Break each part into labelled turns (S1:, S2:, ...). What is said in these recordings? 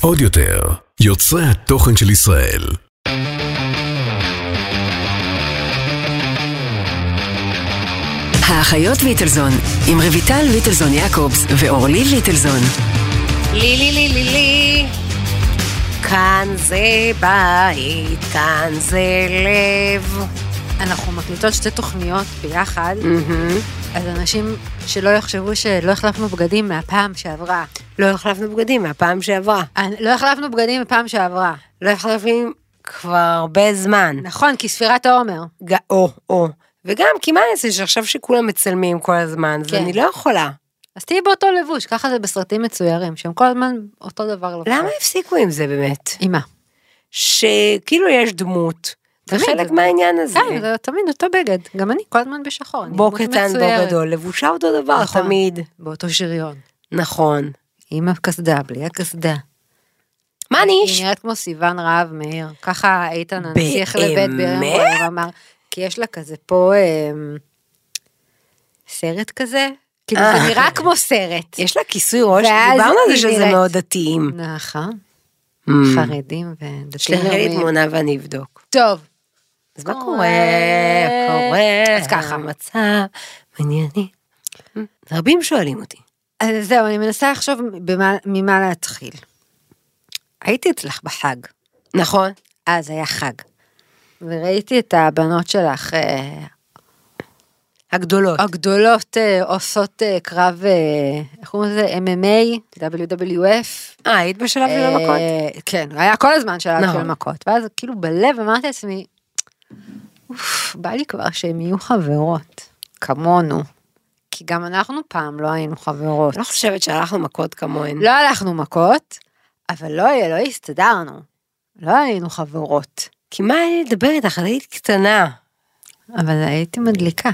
S1: עוד יותר, יוצרי התוכן של ישראל.
S2: האחיות ליטלזון, עם רויטל ליטלזון יעקובס ואורלי ליטלזון.
S3: לי לי לי לי לי כאן זה בית, כאן זה לב.
S4: אנחנו מקליטות שתי תוכניות ביחד, אז אנשים שלא יחשבו שלא החלפנו בגדים מהפעם שעברה.
S3: לא החלפנו בגדים מהפעם שעברה.
S4: אה, לא החלפנו בגדים מהפעם שעברה.
S3: לא החלפנו כבר הרבה זמן.
S4: נכון, כי ספירת העומר.
S3: ג- או, או. וגם, כי מה אני אעשה שעכשיו שכולם מצלמים כל הזמן, אז
S4: כן.
S3: אני לא יכולה.
S4: אז תהיי באותו לבוש, ככה זה בסרטים מצוירים, שהם כל הזמן אותו דבר לבוש.
S3: למה הפסיקו עם זה באמת?
S4: עם מה?
S3: שכאילו יש דמות, זה
S4: תמיד.
S3: חלק מהעניין הזה.
S4: כן, זה תמיד אותו בגד. גם אני כל הזמן בשחור. אני
S3: בור
S4: דמות
S3: קטן, בור
S4: מצוירת.
S3: גדול, לבושה אותו דבר
S4: נכון.
S3: תמיד.
S4: באותו שריון.
S3: נכון.
S4: עם הקסדה, בלי הקסדה.
S3: מה אני איש?
S4: היא נראית כמו סיוון רהב מאיר. ככה איתן הנסיך
S3: באמת?
S4: לבית ברנר אמר, כי יש לה כזה פה אמ, סרט כזה. כאילו
S3: אה.
S4: זה נראה כמו סרט.
S3: יש לה כיסוי ראש,
S4: ואז
S3: דיברנו על זה
S4: היא
S3: שזה
S4: נראית.
S3: מאוד דתיים.
S4: נכון.
S3: Mm.
S4: חרדים ודתיים
S3: שלחי לי
S4: לאומיים.
S3: תמונה ואני אבדוק.
S4: טוב.
S3: אז מה
S4: קורה?
S3: קורה? קורה.
S4: אז ככה.
S3: המצע מענייני. אה? רבים שואלים אותי.
S4: אז זהו, אני מנסה לחשוב במה- ממה להתחיל. הייתי אצלך בחג.
S3: נכון.
S4: אז היה חג. וראיתי את הבנות שלך אה,
S3: הגדולות.
S4: הגדולות אה, עושות אה, קרב, אה, איך קוראים לזה? MMA, WWF.
S3: אה, היית בשלב של
S4: אה,
S3: המכות?
S4: כן, היה כל הזמן שלב של
S3: נכון.
S4: מכות. ואז כאילו בלב אמרתי לעצמי, אוף, בא לי כבר שהן יהיו חברות, כמונו. כי גם אנחנו פעם לא היינו חברות.
S3: אני לא חושבת שהלכנו מכות כמוהן.
S4: לא הלכנו מכות, אבל לא, לא הסתדרנו. לא היינו חברות.
S3: כי מה היה לי לדבר איתך? את היית קטנה.
S4: אבל הייתי מדליקה.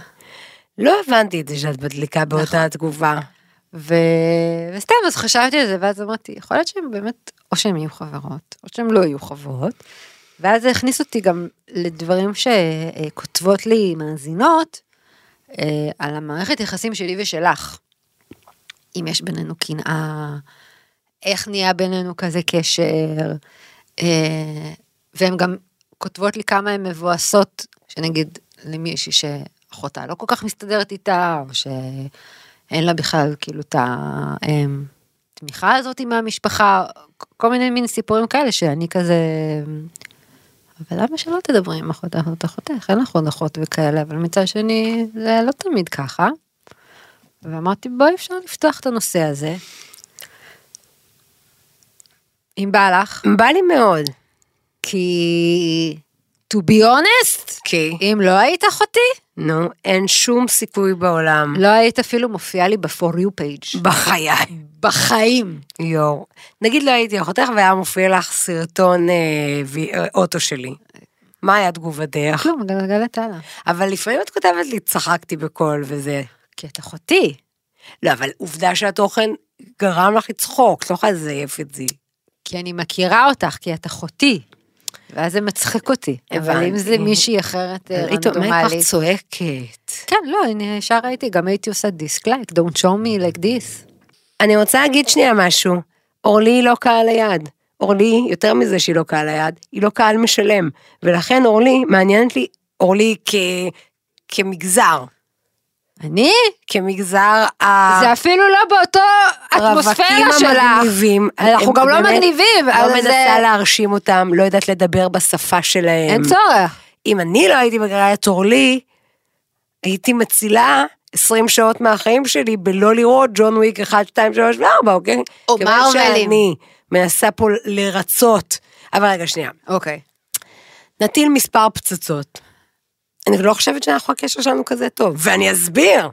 S3: לא הבנתי את זה שאת מדליקה באותה התגובה.
S4: ו... וסתם, אז חשבתי על זה, ואז אמרתי, יכול להיות שהן באמת, או שהן יהיו חברות, או שהן לא יהיו חברות. ואז זה הכניס אותי גם לדברים שכותבות לי מאזינות, אה, על המערכת יחסים שלי ושלך. אם יש בינינו קנאה, איך נהיה בינינו כזה קשר, אה, והן גם כותבות לי כמה הן מבואסות, שנגיד למישהי שאחותה לא כל כך מסתדרת איתה, או שאין לה בכלל כאילו את התמיכה הזאת מהמשפחה, כל מיני מין סיפורים כאלה שאני כזה... אבל למה שלא תדברי עם אחותך זאת אחותך, אין לך עוד אחות וכאלה, אבל מצד שני זה לא תמיד ככה. ואמרתי בואי אפשר לפתוח את הנושא הזה. אם בא לך.
S3: בא לי מאוד.
S4: כי to be honest,
S3: כי?
S4: אם לא היית אחותי,
S3: נו, אין שום סיכוי בעולם.
S4: לא היית אפילו מופיעה לי ב-for you page.
S3: בחיי.
S4: בחיים.
S3: יואו. נגיד לא הייתי אחותך והיה מופיע לך סרטון אה, וי- אה, אוטו שלי. מה היה תגובתך?
S4: כלום, גלגלת הלאה.
S3: אבל לפעמים את כותבת לי, צחקתי בקול וזה.
S4: כי את אחותי.
S3: לא, אבל עובדה שהתוכן גרם לך לצחוק, את לא יכולה לזייף את זה.
S4: כי אני מכירה אותך, כי את אחותי. ואז זה מצחיק אותי. אבל
S3: הבנתי.
S4: אם זה מישהי אחרת אה,
S3: אבל היית אומרת
S4: רנדומלית.
S3: לך צועקת.
S4: כן, לא, אני ישר הייתי, גם הייתי עושה דיסק-לייק, don't show me like this.
S3: אני רוצה להגיד שנייה משהו. אורלי היא לא קהל היעד. אורלי, יותר מזה שהיא לא קהל היעד, היא לא קהל משלם. ולכן אורלי, מעניינת לי, אורלי כ... כמגזר.
S4: אני?
S3: כמגזר ה...
S4: זה אפילו לא באותו אטמוספירה שלך.
S3: אה. המגניבים.
S4: אנחנו
S3: הם
S4: גם לא
S3: באמת
S4: מגניבים,
S3: לא
S4: אבל זה-
S3: מנסה להרשים אותם, לא יודעת לדבר בשפה שלהם.
S4: אין צורך.
S3: אם אני לא הייתי מגלה את אורלי, הייתי מצילה 20 שעות מהחיים שלי בלא לראות ג'ון וויק 1, 2, 3 ו-4, אוקיי?
S4: או
S3: כיוון
S4: מארוולים.
S3: שאני מנסה פה לרצות. אבל רגע, שנייה.
S4: אוקיי.
S3: נטיל מספר פצצות. אני לא חושבת שאנחנו הקשר שלנו כזה טוב. ואני אסביר.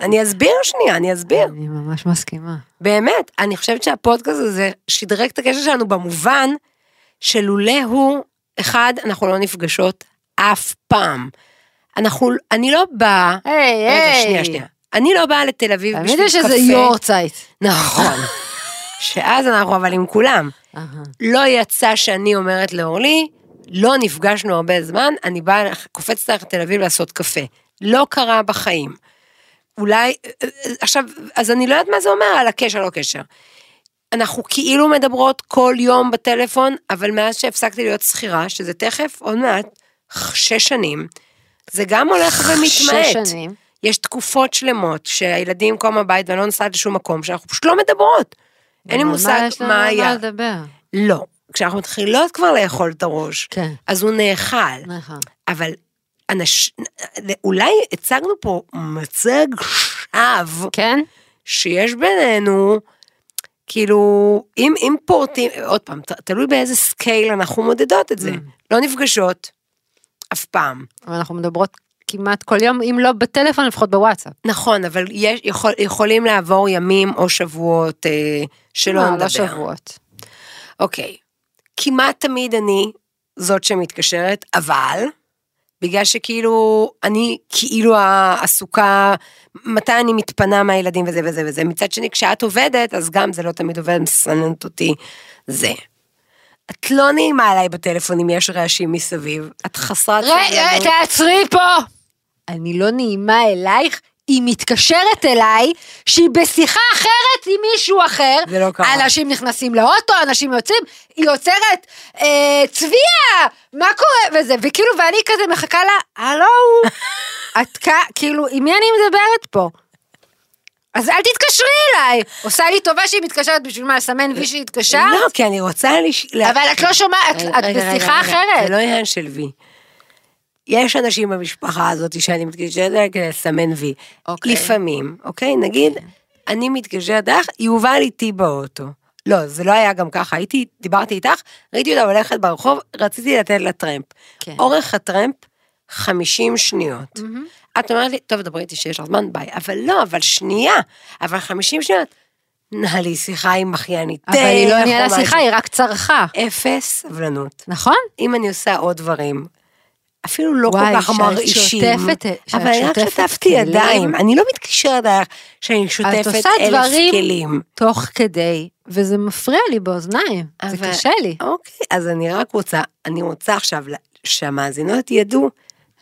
S3: אני אסביר שנייה, אני אסביר.
S4: אני ממש מסכימה.
S3: באמת, אני חושבת שהפודקאסט הזה שדרג את הקשר שלנו במובן שלולא הוא, אחד, אנחנו לא נפגשות אף פעם. אנחנו, אני לא באה,
S4: היי,
S3: רגע,
S4: היי.
S3: שנייה, שנייה. אני לא באה לתל אביב
S4: תמיד
S3: בשביל
S4: יש
S3: קפה.
S4: איזה יורצייט.
S3: נכון. שאז אנחנו אבל עם כולם. לא יצא שאני אומרת לאורלי, לא נפגשנו הרבה זמן, אני באה, קופצת לך לתל אביב לעשות קפה. לא קרה בחיים. אולי, עכשיו, אז אני לא יודעת מה זה אומר על הקשר לא קשר. אנחנו כאילו מדברות כל יום בטלפון, אבל מאז שהפסקתי להיות שכירה, שזה תכף, עוד מעט, שש שנים, זה גם הולך ומתמעט.
S4: שש שנים.
S3: יש תקופות שלמות שהילדים קום הבית ואני לא נוסעת לשום מקום, שאנחנו פשוט לא מדברות. אין לי
S4: אבל
S3: מושג
S4: יש לנו
S3: מה
S4: על
S3: היה.
S4: לדבר?
S3: לא. כשאנחנו מתחילות כבר לאכול את הראש,
S4: כן.
S3: אז הוא נאכל.
S4: נכון.
S3: אבל אנש... אולי הצגנו פה מצג שווא
S4: כן?
S3: שיש בינינו, כאילו, אם, אם פורטים, עוד פעם, ת, תלוי באיזה סקייל אנחנו מודדות את זה.
S4: Mm.
S3: לא נפגשות, אף פעם.
S4: אבל אנחנו מדברות כמעט כל יום, אם לא בטלפון, לפחות בוואטסאפ.
S3: נכון, אבל יש, יכול, יכולים לעבור ימים או שבועות אה, שלא
S4: לא,
S3: נדבר.
S4: לא שבועות.
S3: אוקיי, כמעט תמיד אני זאת שמתקשרת, אבל בגלל שכאילו, אני כאילו העסוקה, מתי אני מתפנה מהילדים וזה וזה וזה. מצד שני, כשאת עובדת, אז גם זה לא תמיד עובד, מסננת אותי זה. את לא נעימה עליי בטלפון אם יש רעשים מסביב, את חסרת סבלנות.
S4: תעצרי פה! אני לא נעימה אלייך, היא מתקשרת אליי, שהיא בשיחה אחרת עם מישהו אחר.
S3: זה לא קרה.
S4: אנשים נכנסים לאוטו, אנשים יוצאים, היא עוצרת, אה, צביה, מה קורה? וזה, וכאילו, ואני כזה מחכה לה, הלו, את כ- כאילו, עם מי אני מדברת פה? אז אל תתקשרי אליי. עושה לי טובה שהיא מתקשרת בשביל מה, לסמן וי שהיא התקשרת?
S3: לא, כי אני רוצה לש...
S4: אבל את לא שומעת, את
S3: רגע, אה, רגע,
S4: בשיחה
S3: רגע, זה
S4: אחרת.
S3: לא עניין של וי. יש אנשים במשפחה הזאת שאני מתקשרת אליה כדי לסמן וי.
S4: אוקיי.
S3: לפעמים, אוקיי? נגיד, אני מתקשרת אליך, יובל איתי באוטו. לא, זה לא היה גם ככה, הייתי, דיברתי איתך, ראיתי אותה הולכת ברחוב, רציתי לתת לה טרמפ.
S4: כן.
S3: אורך הטרמפ, 50 שניות. את אומרת לי, טוב, דברי איתי שיש לך זמן, ביי. אבל לא, אבל שנייה, אבל 50 שניות. נהלי שיחה עם אחייניתך.
S4: אבל היא לא ניהלה
S3: אנחנו
S4: שיחה, היא רק צרחה.
S3: אפס סבלנות.
S4: נכון?
S3: אם אני עושה עוד דברים, אפילו לא
S4: וואי,
S3: כל כך
S4: שאת
S3: מרעישים.
S4: שוטפת- שאת
S3: אבל אני רק
S4: שוטפת
S3: שטפתי
S4: כלים.
S3: ידיים, אני לא מתקשרת אלייך שאני
S4: את
S3: שוטפת
S4: עושה
S3: אלף
S4: דברים
S3: כלים.
S4: תוך כדי, וזה מפריע לי באוזניים, זה
S3: אבל-
S4: קשה לי.
S3: אוקיי, אז אני רק רוצה, אני רוצה עכשיו לה- שהמאזינות ידעו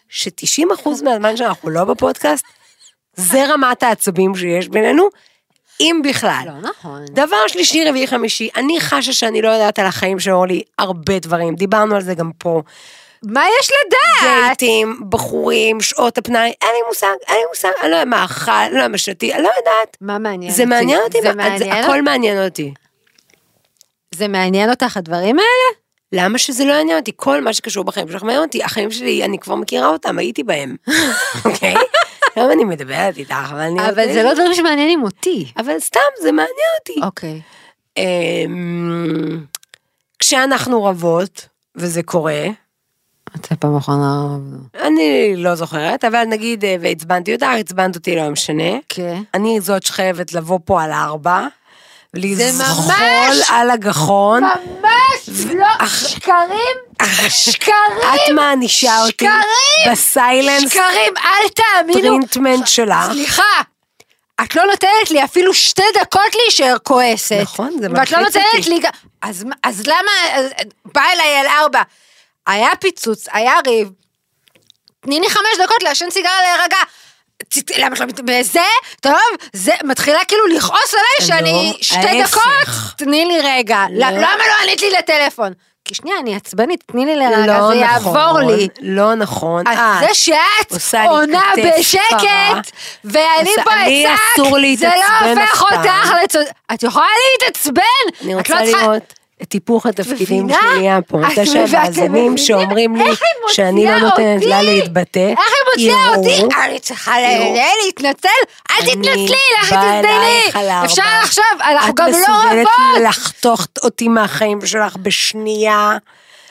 S3: ש-90% מהזמן שאנחנו לא בפודקאסט, זה רמת העצבים שיש בינינו, אם בכלל.
S4: לא נכון.
S3: דבר שלישי, רביעי, חמישי, אני חשה שאני לא יודעת על החיים של אורלי הרבה דברים, דיברנו על זה גם פה.
S4: מה יש לדעת?
S3: דייטים, בחורים, שעות הפנאי, אין לי מושג, אין לי מושג, אני לא יודעת מה אכל, אני לא יודעת מה שתי, אני לא יודעת.
S4: מה מעניין אותי?
S3: זה מעניין אותי,
S4: זה
S3: מה- זה-
S4: מעניין
S3: הכל מעניין אותי.
S4: זה מעניין אותך הדברים האלה?
S3: למה שזה לא יעניין אותי? כל מה שקשור בחיים שלך מעניין אותי, החיים שלי, אני כבר מכירה אותם, הייתי בהם, אוקיי? למה אני מדברת איתך, אבל אני...
S4: אבל זה לא דברים שמעניינים אותי.
S3: אבל סתם, זה מעניין אותי.
S4: אוקיי.
S3: אמ, כשאנחנו רבות, וזה קורה,
S4: אתה פעם אחרונה...
S3: אני לא זוכרת, אבל נגיד, אה, ועצבנתי אותך, עצבנת אותי, לא משנה.
S4: כן.
S3: אני זאת שחייבת לבוא פה על ארבע, לזחול
S4: ממש-
S3: על הגחון.
S4: ממש לא, שקרים,
S3: את
S4: שקרים,
S3: מענישה אותי
S4: שקרים!
S3: בסיילנס
S4: שקרים, אל תאמינו.
S3: פרינטמנט שלך.
S4: סליחה, את לא נותנת לי אפילו שתי דקות להישאר כועסת.
S3: נכון, זה
S4: ואת לא
S3: מלחיץ
S4: נותנת
S3: אותי.
S4: לי, גם- אז, מה- אז למה, אז- בא אליי על ארבע. היה פיצוץ, היה ריב, תני לי חמש דקות לעשן סיגריה להירגע. צ- למה את לא מת... וזה, טוב, זה מתחילה כאילו לכעוס עליי
S3: לא,
S4: שאני שתי
S3: ההפך.
S4: דקות, תני לי רגע. לא- למה לא ענית לי לטלפון? כי שנייה, אני עצבנית, תני לי לרגע,
S3: לא
S4: זה יעבור
S3: נכון,
S4: לי.
S3: לא נכון.
S4: אז
S3: את
S4: זה שאת
S3: עושה לי
S4: עונה
S3: כתף קרה.
S4: בשקט, ואני
S3: עושה-
S4: פה
S3: לי
S4: אצעק,
S3: אסור להתעצבן
S4: זה לא הופך
S3: אף פעם.
S4: אותך לצודק. את יכולה להתעצבן!
S3: אני
S4: את
S3: רוצה
S4: לא צריכה-
S3: לראות את היפוך התפקידים
S4: מבינה?
S3: שנהיה פה.
S4: את
S3: זה
S4: מבינה- אתם מבינים?
S3: שהמאזינים שאומרים לי
S4: איך היא
S3: שאני לא
S4: מוציאה
S3: נותנת לה
S4: אותי?
S3: להתבטא,
S4: איך היא מוציאה
S3: יראו.
S4: אותי? אני צריכה ל-
S3: יראו.
S4: ל- להתנצל? אל
S3: אני
S4: תתנצלי, לך
S3: באה אלייך על
S4: תתדייני.
S3: הארבע.
S4: אפשר עכשיו, אנחנו
S3: את
S4: גם לא
S3: מסוגלת
S4: רבות.
S3: לחתוך אותי מהחיים שלך בשנייה.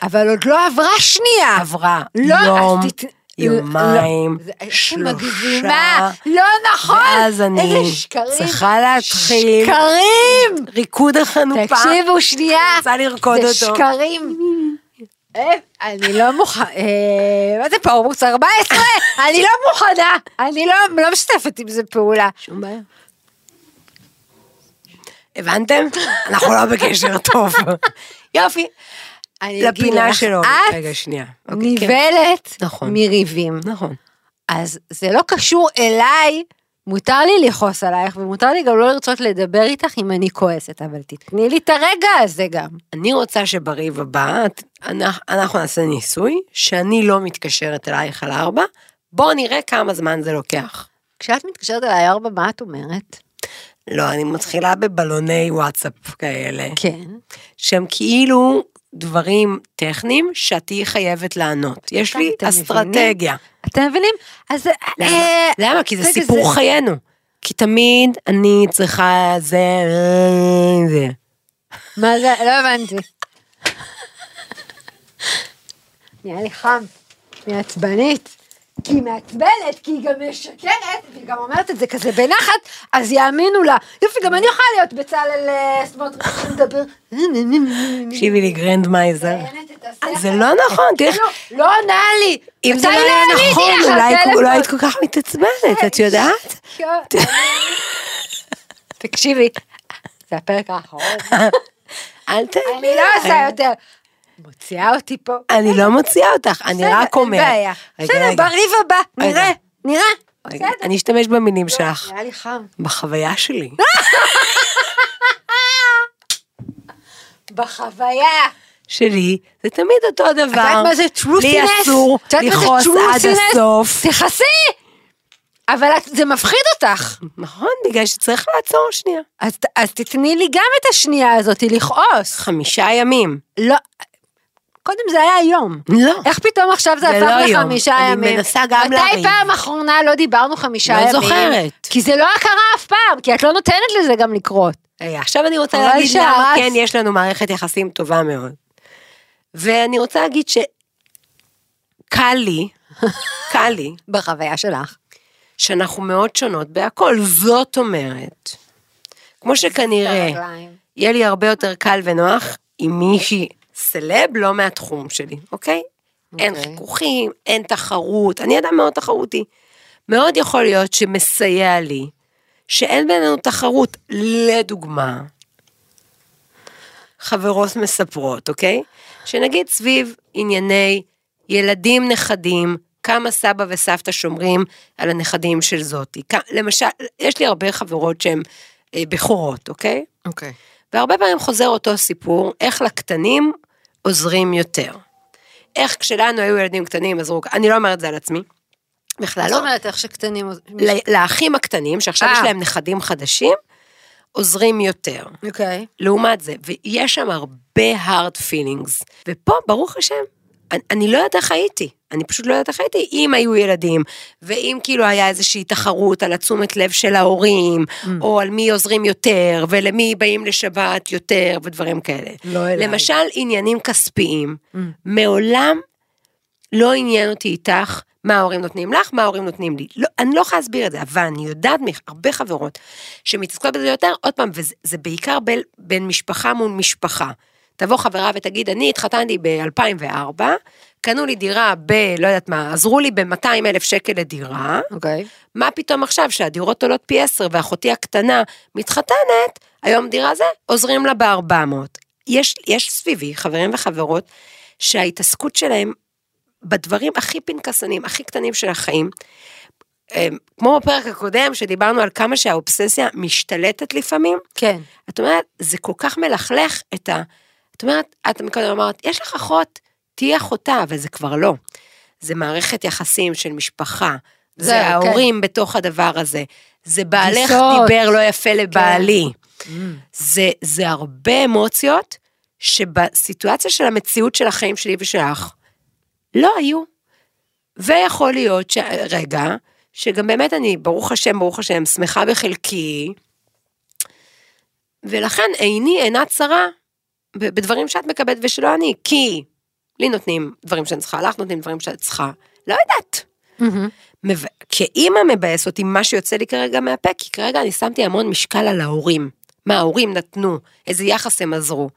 S4: אבל עוד לא עברה שנייה.
S3: עברה
S4: לא, אז
S3: יום,
S4: תת-
S3: יומיים,
S4: לא, זה- את
S3: שלושה,
S4: מגזימה. לא נכון.
S3: ואז אני
S4: איזה שקרים.
S3: צריכה להתחיל
S4: שקרים.
S3: ריקוד החנופה.
S4: תקשיבו שנייה,
S3: רוצה לרקוד
S4: זה
S3: אותו.
S4: שקרים. אה, אני לא מוכנה, אה, מה זה פה ערוץ 14? אני לא מוכנה, אני לא- לא משתפת עם זה פעולה.
S3: שום בעיה. הבנתם? אנחנו לא בקשר טוב. יופי.
S4: אני אגיד
S3: לפינה
S4: לך,
S3: שלו.
S4: את
S3: רגע, שנייה. אוקיי, כן.
S4: ניבלת
S3: נכון.
S4: מריבים.
S3: נכון.
S4: אז זה לא קשור אליי מותר לי לכעוס עלייך, ומותר לי גם לא לרצות לדבר איתך אם אני כועסת, אבל תתני לי את הרגע הזה גם.
S3: אני רוצה שבריב הבא, את- אנחנו- אנחנו נעשה ניסוי, שאני לא מתקשרת אלייך על ארבע, בואו נראה כמה זמן זה לוקח.
S4: כשאת מתקשרת אליי ארבע, מה את אומרת?
S3: לא, אני מתחילה בבלוני וואטסאפ כאלה,
S4: כן.
S3: שהם כאילו דברים טכניים שאת תהיי חייבת לענות. יש לי
S4: אתם מבינים?
S3: אסטרטגיה.
S4: אתם מבינים? אז...
S3: למה?
S4: אה,
S3: למה? כי זה
S4: רגע,
S3: סיפור
S4: זה-
S3: חיינו. כי תמיד אני צריכה זה... אה, זה.
S4: מה זה? לא הבנתי. נהיה לי חם. היא עצבנית. כי היא מעצבנת, כי היא גם משקרת, והיא גם אומרת את זה כזה בנחת, אז יאמינו לה. יופי, גם אני יכולה להיות בצלאל אה, סמוטריץ' שמדבר.
S3: תקשיבי לי גרנד מייזר.
S4: מציינת את השכל.
S3: זה לא נכון, תראי איך-
S4: כאילו, לא עונה לי.
S3: אם זה
S4: מתי
S3: לא היה
S4: לא עניתי
S3: נכון,
S4: לך על
S3: אולי-
S4: טלפון?
S3: אולי היית כל כך מתעצבנת, את יודעת?
S4: כן. תקשיבי, זה הפרק האחרון.
S3: אל תאמין.
S4: אני לא עושה יותר. מוציאה אותי פה.
S3: אני לא מוציאה אותך, אני
S4: בסדר,
S3: רק אומרת.
S4: אין בעיה.
S3: רגע,
S4: בסדר,
S3: רגע,
S4: בריב הבא,
S3: רגע.
S4: נראה, נראה.
S3: רגע,
S4: בסדר. לא.
S3: אני אשתמש במילים שלך,
S4: נראה לי חם.
S3: בחוויה שלי.
S4: בחוויה.
S3: שלי, זה תמיד אותו דבר. את
S4: את יודעת מה זה טרותינס?
S3: לי אסור לכעוס עד הסוף.
S4: תכעסי! אבל את- זה מפחיד אותך.
S3: נכון, בגלל שצריך לעצור שנייה.
S4: אז ת- אז תתני לי גם את השנייה הזאת לכעוס.
S3: חמישה ימים.
S4: לא, קודם זה היה יום.
S3: לא.
S4: איך פתאום עכשיו זה
S3: זה
S4: הפך
S3: לא יום.
S4: לחמישה
S3: אני
S4: ימים?
S3: מנסה גם
S4: מתי
S3: לריב.
S4: פעם אחרונה לא דיברנו חמישה
S3: לא
S4: ימים?
S3: זוכרת.
S4: כי זה לא קרה אף פעם, כי את לא נותנת לזה גם לקרות.
S3: רגע, עכשיו אני רוצה
S4: אבל
S3: להגיד למה
S4: שהרס-
S3: כן יש לנו מערכת יחסים טובה מאוד. ואני רוצה להגיד שקל לי, קל לי,
S4: בחוויה שלך.
S3: שאנחנו מאוד שונות בהכל. זאת אומרת, כמו שכנראה יהיה לי הרבה יותר קל ונוח עם מישהי סלב לא מהתחום שלי, אוקיי? אין
S4: אוקיי.
S3: חיכוכים, אין תחרות, אני אדם מאוד תחרותי. מאוד יכול להיות שמסייע לי שאין בינינו תחרות, לדוגמה, חברות מספרות, אוקיי? שנגיד סביב ענייני ילדים, נכדים, כמה סבא וסבתא שומרים על הנכדים של זאתי. כ- למשל, יש לי הרבה חברות שהן אה, בכורות, אוקיי?
S4: אוקיי.
S3: והרבה פעמים חוזר אותו סיפור, איך לקטנים עוזרים יותר. איך כשלנו היו ילדים קטנים עזרו, אני לא אומרת את זה על עצמי, בכלל
S4: מה
S3: לא.
S4: זאת אומרת איך שקטנים...
S3: ל- לאחים הקטנים, שעכשיו
S4: אה.
S3: יש להם נכדים חדשים, עוזרים יותר.
S4: אוקיי.
S3: לעומת זה, ויש שם הרבה hard feelings. ופה, ברוך השם, אני, אני לא יודעת איך הייתי. אני פשוט לא יודעת איך הייתי, אם היו ילדים, ואם כאילו היה איזושהי תחרות על התשומת לב של ההורים, mm. או על מי עוזרים יותר, ולמי באים לשבת יותר, ודברים כאלה.
S4: לא אליי.
S3: למשל, עניינים כספיים. Mm. מעולם לא עניין אותי איתך מה ההורים נותנים לך, מה ההורים נותנים לי. לא, אני לא יכולה להסביר את זה, אבל אני יודעת מהרבה חברות שמתעסקות בזה יותר, עוד פעם, וזה זה בעיקר בין, בין משפחה מול משפחה. תבוא חברה ותגיד, אני התחתנתי ב-2004, קנו לי דירה ב... לא יודעת מה, עזרו לי ב-200 אלף שקל לדירה,
S4: אוקיי.
S3: מה פתאום עכשיו שהדירות עולות פי עשר ואחותי הקטנה מתחתנת, היום דירה זה, עוזרים לה ב-400. יש, יש סביבי חברים וחברות שההתעסקות שלהם בדברים הכי פנקסנים, הכי קטנים של החיים, אמ, כמו בפרק הקודם שדיברנו על כמה שהאובססיה משתלטת לפעמים,
S4: כן.
S3: את אומרת, זה כל כך מלכלך את ה... את אומרת, את מקודם אמרת, יש לך אחות, תהיי אחותה, אבל זה כבר לא. זה מערכת יחסים של משפחה, זה,
S4: זהו,
S3: זה
S4: כן.
S3: ההורים כן. בתוך הדבר הזה, זה בעלך
S4: גיסות. כן.
S3: דיבר לא יפה לבעלי. זה, זה הרבה אמוציות שבסיטואציה של המציאות של החיים שלי ושלך, לא היו. ויכול להיות ש... רגע, שגם באמת אני, ברוך השם, ברוך השם, שמחה בחלקי, ולכן עיני אינה צרה ב- בדברים שאת מקבלת ושלא אני, כי לי נותנים דברים שאני צריכה, לך נותנים דברים שאת צריכה, לא יודעת.
S4: Mm-hmm.
S3: מב... כאימא מבאס אותי מה שיוצא לי כרגע מהפה, כי כרגע אני שמתי המון משקל על ההורים. מה ההורים נתנו, איזה יחס הם עזרו.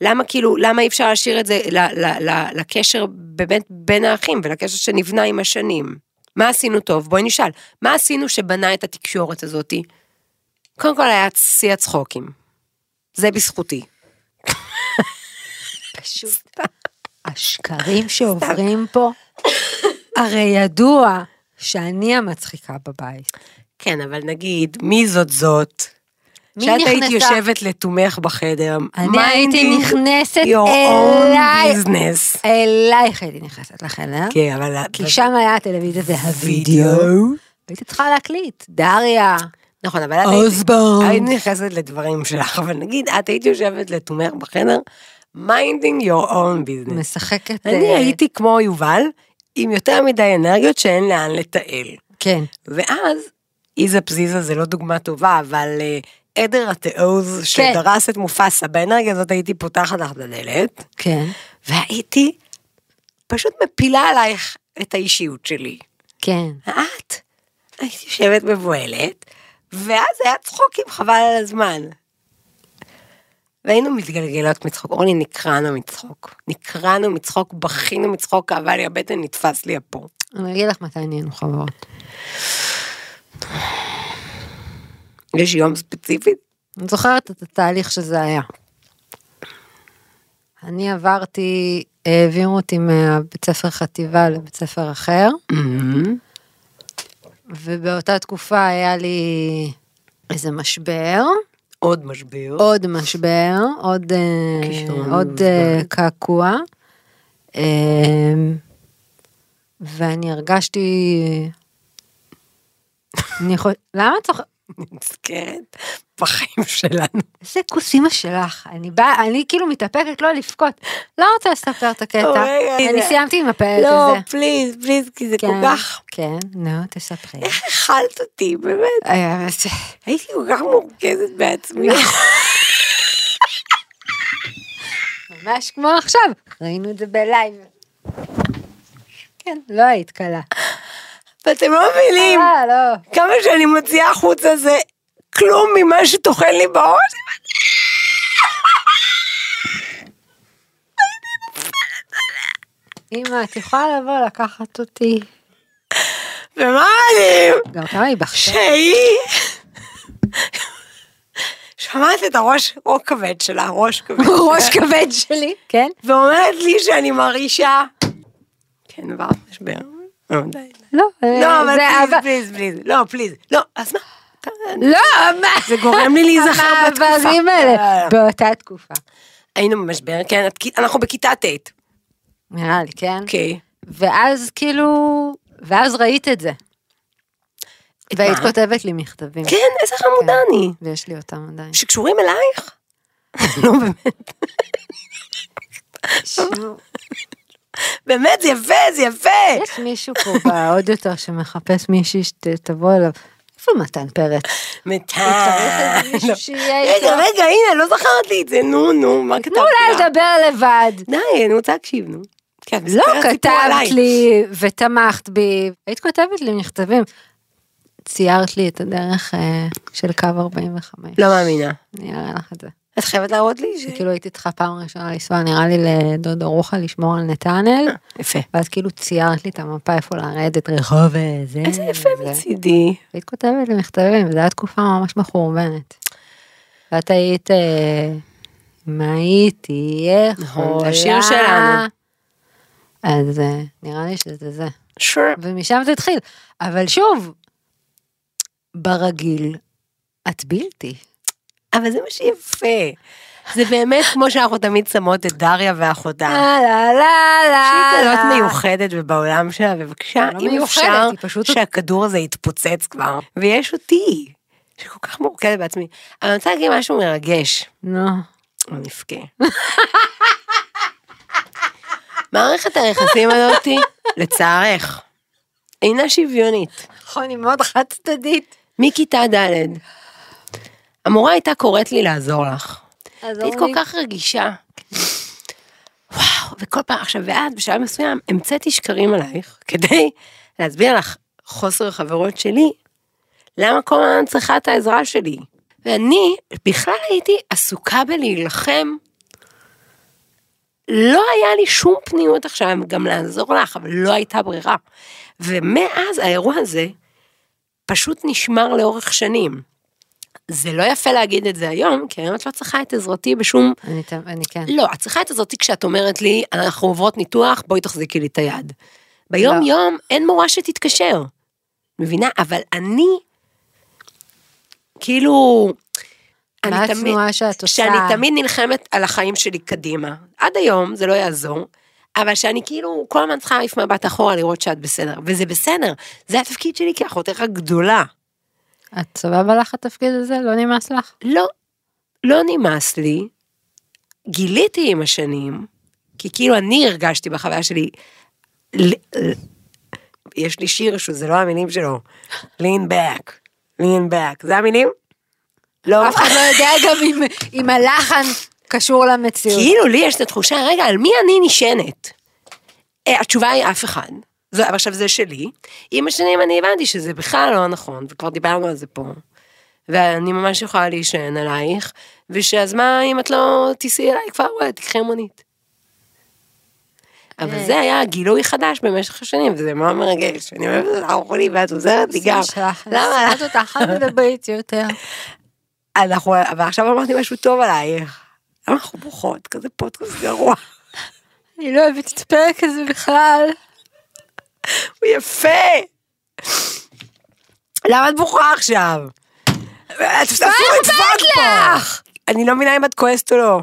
S3: למה כאילו, למה אי אפשר להשאיר את זה ל, ל, ל, לקשר באמת בין האחים ולקשר שנבנה עם השנים? מה עשינו טוב? בואי נשאל. מה עשינו שבנה את התקשורת הזאתי? קודם כל היה שיא הצחוקים. זה בזכותי.
S4: פשוט. השקרים שעוברים פה, הרי ידוע שאני המצחיקה בבית.
S3: כן, אבל נגיד, מי זאת זאת?
S4: מי
S3: שאת היית
S4: נכנסה?
S3: יושבת לתומך בחדר,
S4: אני הייתי
S3: minding
S4: נכנסת
S3: your own
S4: אליי,
S3: business.
S4: אלייך הייתי נכנסת לחדר,
S3: כן, אבל את...
S4: כי שם היה הטלוויזיה והווידאו, הייתי צריכה להקליט, דריה,
S3: נכון, אבל את היית... היית נכנסת לדברים שלך, אבל נגיד, את היית יושבת לתומך בחדר, minding your own business.
S4: משחקת,
S3: כן. אני
S4: אה,
S3: הייתי כמו יובל, עם יותר מדי אנרגיות שאין לאן לתעל.
S4: כן,
S3: ואז, איזה פזיזה זה לא דוגמה טובה, אבל אה, עדר התעוז שדרס את מופסה, באנרגיה הזאת הייתי פותחת לך את הדלת,
S4: כן,
S3: והייתי פשוט מפילה עלייך את האישיות שלי.
S4: כן,
S3: את היית יושבת מבוהלת, ואז היה צחוקים חבל על הזמן. והיינו מתגלגלות מצחוק, אורלי נקרענו מצחוק, נקרענו מצחוק, בכינו מצחוק, כאבה לי הבטן, נתפס לי הפור.
S4: אני אגיד לך מתי נהיינו חברות,
S3: יש יום ספציפי?
S4: אני זוכרת את התהליך שזה היה. אני עברתי, העבירו אותי מהבית ספר חטיבה לבית ספר אחר, ובאותה תקופה היה לי איזה משבר,
S3: עוד משבר.
S4: עוד משבר, עוד, אה,
S3: כישרון
S4: עוד אה, קעקוע, אה, ואני הרגשתי... אני יכול... למה את זוכרת?
S3: נזכרת בחיים שלנו.
S4: איזה כוס אימא שלך, אני באה, אני כאילו מתאפקת לא לבכות, לא רוצה לספר את הקטע,
S3: אוי, אוי,
S4: אני
S3: זה-
S4: סיימתי עם הפרק
S3: לא,
S4: הזה.
S3: פליז, פליז, כי זה כל
S4: כן,
S3: כך...
S4: כן, נו, תספרי.
S3: איך אכלת אותי, באמת.
S4: אה, זה-
S3: הייתי כל כך מורכזת בעצמי.
S4: ממש כמו עכשיו, ראינו את זה בלייב. כן, לא היית קלה.
S3: ואתם לא מבינים
S4: אה, לא.
S3: כמה שאני מוציאה החוצה זה כלום ממה שטוחן לי בראש.
S4: אמא, את יכולה לבוא לקחת אותי?
S3: ומה מדהים?
S4: גם כמה היא בחשה?
S3: שהיא... שמעת את הראש או כבד שלה, ראש כבד.
S4: ראש כבד שלי, כן?
S3: ואומרת לי שאני מרעישה. כן, עבר משבר. לא, די.
S4: לא, אה,
S3: לא, אבל
S4: זה
S3: פליז,
S4: אבל-
S3: פליז, פליז, לא, פליז, לא, אז מה?
S4: לא, מה?
S3: זה גורם לי להיזכר בתקופה.
S4: המעברים האלה, באותה תקופה.
S3: היינו במשבר, כן, את- אנחנו בכיתה ט'.
S4: נראה לי, כן?
S3: אוקיי.
S4: ואז כאילו, ואז ראית את זה. והיית כותבת לי מכתבים.
S3: כן, איזה חמודה
S4: כן.
S3: אני.
S4: ויש לי אותם עדיין.
S3: שקשורים אלייך? נו, באמת. באמת, זה יפה, זה יפה.
S4: יש מישהו פה באודיוטר שמחפש מישהי שתבוא אליו. איפה מתן פרץ?
S3: מתן.
S4: הוא צריך איזה מישהו שיהיה
S3: רגע,
S4: איתו.
S3: רגע, הנה, לא זכרת לי את זה, נו, נו, מה כתבת
S4: תנו לה
S3: לה?
S4: לדבר לבד.
S3: די, אני רוצה להקשיב, נו. כן,
S4: לא
S3: מספרת סיפור עליי.
S4: כתבת לי ותמכת בי, היית כותבת לי מכתבים. ציירת לי את הדרך אה, של קו 45.
S3: לא מאמינה.
S4: אני אראה לך את זה.
S3: את חייבת להראות לי ש...
S4: כאילו הייתי צריכה פעם ראשונה לנסוע נראה לי לדוד ארוחה לשמור על נתנאל,
S3: יפה.
S4: ואז כאילו ציירת לי את המפה איפה לרדת רחוב וזה.
S3: איזה יפה
S4: וזה.
S3: מצידי.
S4: והיית כותבת לי מכתבים, זו הייתה תקופה ממש מחורבנת. ואת היית, אה, מה הייתי,
S3: נכון,
S4: יכולה.
S3: השיר שלנו.
S4: אז אה, נראה לי שזה זה.
S3: שור.
S4: ומשם זה התחיל. אבל שוב, ברגיל, את בלתי.
S3: אבל זה מה שיפה. זה באמת כמו שאנחנו תמיד שמות את דריה ואחותה.
S4: אה, לה, לה, לה,
S3: שהיא כזאת
S4: לה.
S3: מיוחדת ובעולם שלה, ובבקשה,
S4: אה, לא
S3: אם
S4: מיוחדת,
S3: אפשר,
S4: היא פשוט-
S3: שהכדור הזה יתפוצץ כבר. ויש אותי, שכל כך מורכבת בעצמי. אבל אני רוצה להגיד משהו מרגש.
S4: נו.
S3: לא נבכה. מערכת היחסים הזאתי, לצערך, אינה שוויונית.
S4: נכון, היא מאוד חד צדדית.
S3: מכיתה ד', המורה הייתה קוראת לי לעזור לך. היית כל כך רגישה. וואו, וכל פעם, עכשיו, ואת בשלב מסוים המצאתי שקרים עלייך, כדי להסביר לך חוסר חברות שלי, למה כל הזמן צריכה את העזרה שלי. ואני בכלל הייתי עסוקה בלהילחם. לא היה לי שום פניות עכשיו גם לעזור לך, אבל לא הייתה ברירה. ומאז האירוע הזה פשוט נשמר לאורך שנים. זה לא יפה להגיד את זה היום, כי היום את לא צריכה את עזרתי בשום...
S4: אני ת- אני כן.
S3: לא, את צריכה את עזרתי כשאת אומרת לי, אנחנו עוברות ניתוח, בואי תחזיקי לי את
S4: לא.
S3: היד. ביום-יום אין מורה שתתקשר. מבינה? אבל אני כאילו, אני
S4: מה
S3: תמיד,
S4: התנועה שאת עושה?
S3: שאני תמיד נלחמת על החיים שלי קדימה. עד היום, זה לא יעזור, אבל שאני כאילו כל הזמן צריכה להעיף מבט אחורה לראות שאת בסדר, וזה בסדר, זה התפקיד שלי כאחותך הגדולה.
S4: את סבבה לך התפקיד הזה? לא נמאס לך?
S3: לא, לא נמאס לי. גיליתי עם השנים, כי כאילו אני הרגשתי בחוויה שלי, ל- ל- יש לי שיר שזה לא המילים שלו, lean back, lean back, זה המילים? לא,
S4: אף אחד לא יודע גם אם- אם הלחן קשור למציאות.
S3: כאילו לי יש את התחושה, רגע, על מי אני נשענת? אה, התשובה היא אף אחד. זו, אבל עכשיו זה שלי. עם השנים אני הבנתי שזה בכלל לא נכון, וכבר דיברנו על זה פה. ואני ממש יכולה להישען עלייך, ושאז מה אם את לא תיסעי אליי כבר, וואי, תקחי מונית. אבל זה היה גילוי חדש במשך השנים, וזה מאוד מרגש. אני אוהבת אותך חולי ואת עוזרת לא נכון לי גם.
S4: למה?
S3: למה?
S4: אני שונאת אותך, אל תדברת יותר.
S3: אנחנו, אבל עכשיו אמרתי משהו טוב עלייך. למה אנחנו בוכות? כזה פודקאסט גרוע.
S4: אני לא אוהבת את הפרק הזה בכלל.
S3: הוא יפה. למה את בוכה עכשיו? את עשו לדפוק פה. אני לא מבינה אם את כועסת או לא.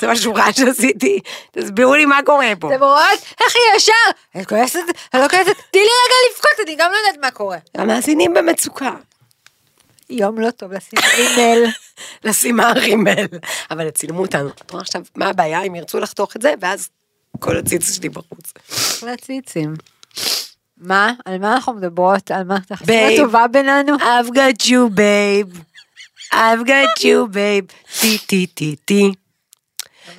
S3: זה משהו רע שעשיתי. תסבירו לי מה קורה פה.
S4: אתם רואות? איך היא ישר? את כועסת? אני לא כועסת? תני לי רגע לבכות, אני גם לא יודעת מה קורה.
S3: המאזינים במצוקה.
S4: יום לא טוב לשים אימייל.
S3: לשים הרימל. אבל צילמו אותנו. את רואה עכשיו, מה הבעיה אם ירצו לחתוך את זה, ואז כל הציץ שלי בחוץ.
S4: לציצים. מה? על מה אנחנו מדברות? על מה? את החסרה
S3: Babe.
S4: טובה בינינו?
S3: I've got you, babe. I've got you, babe. טי, טי, טי, טי.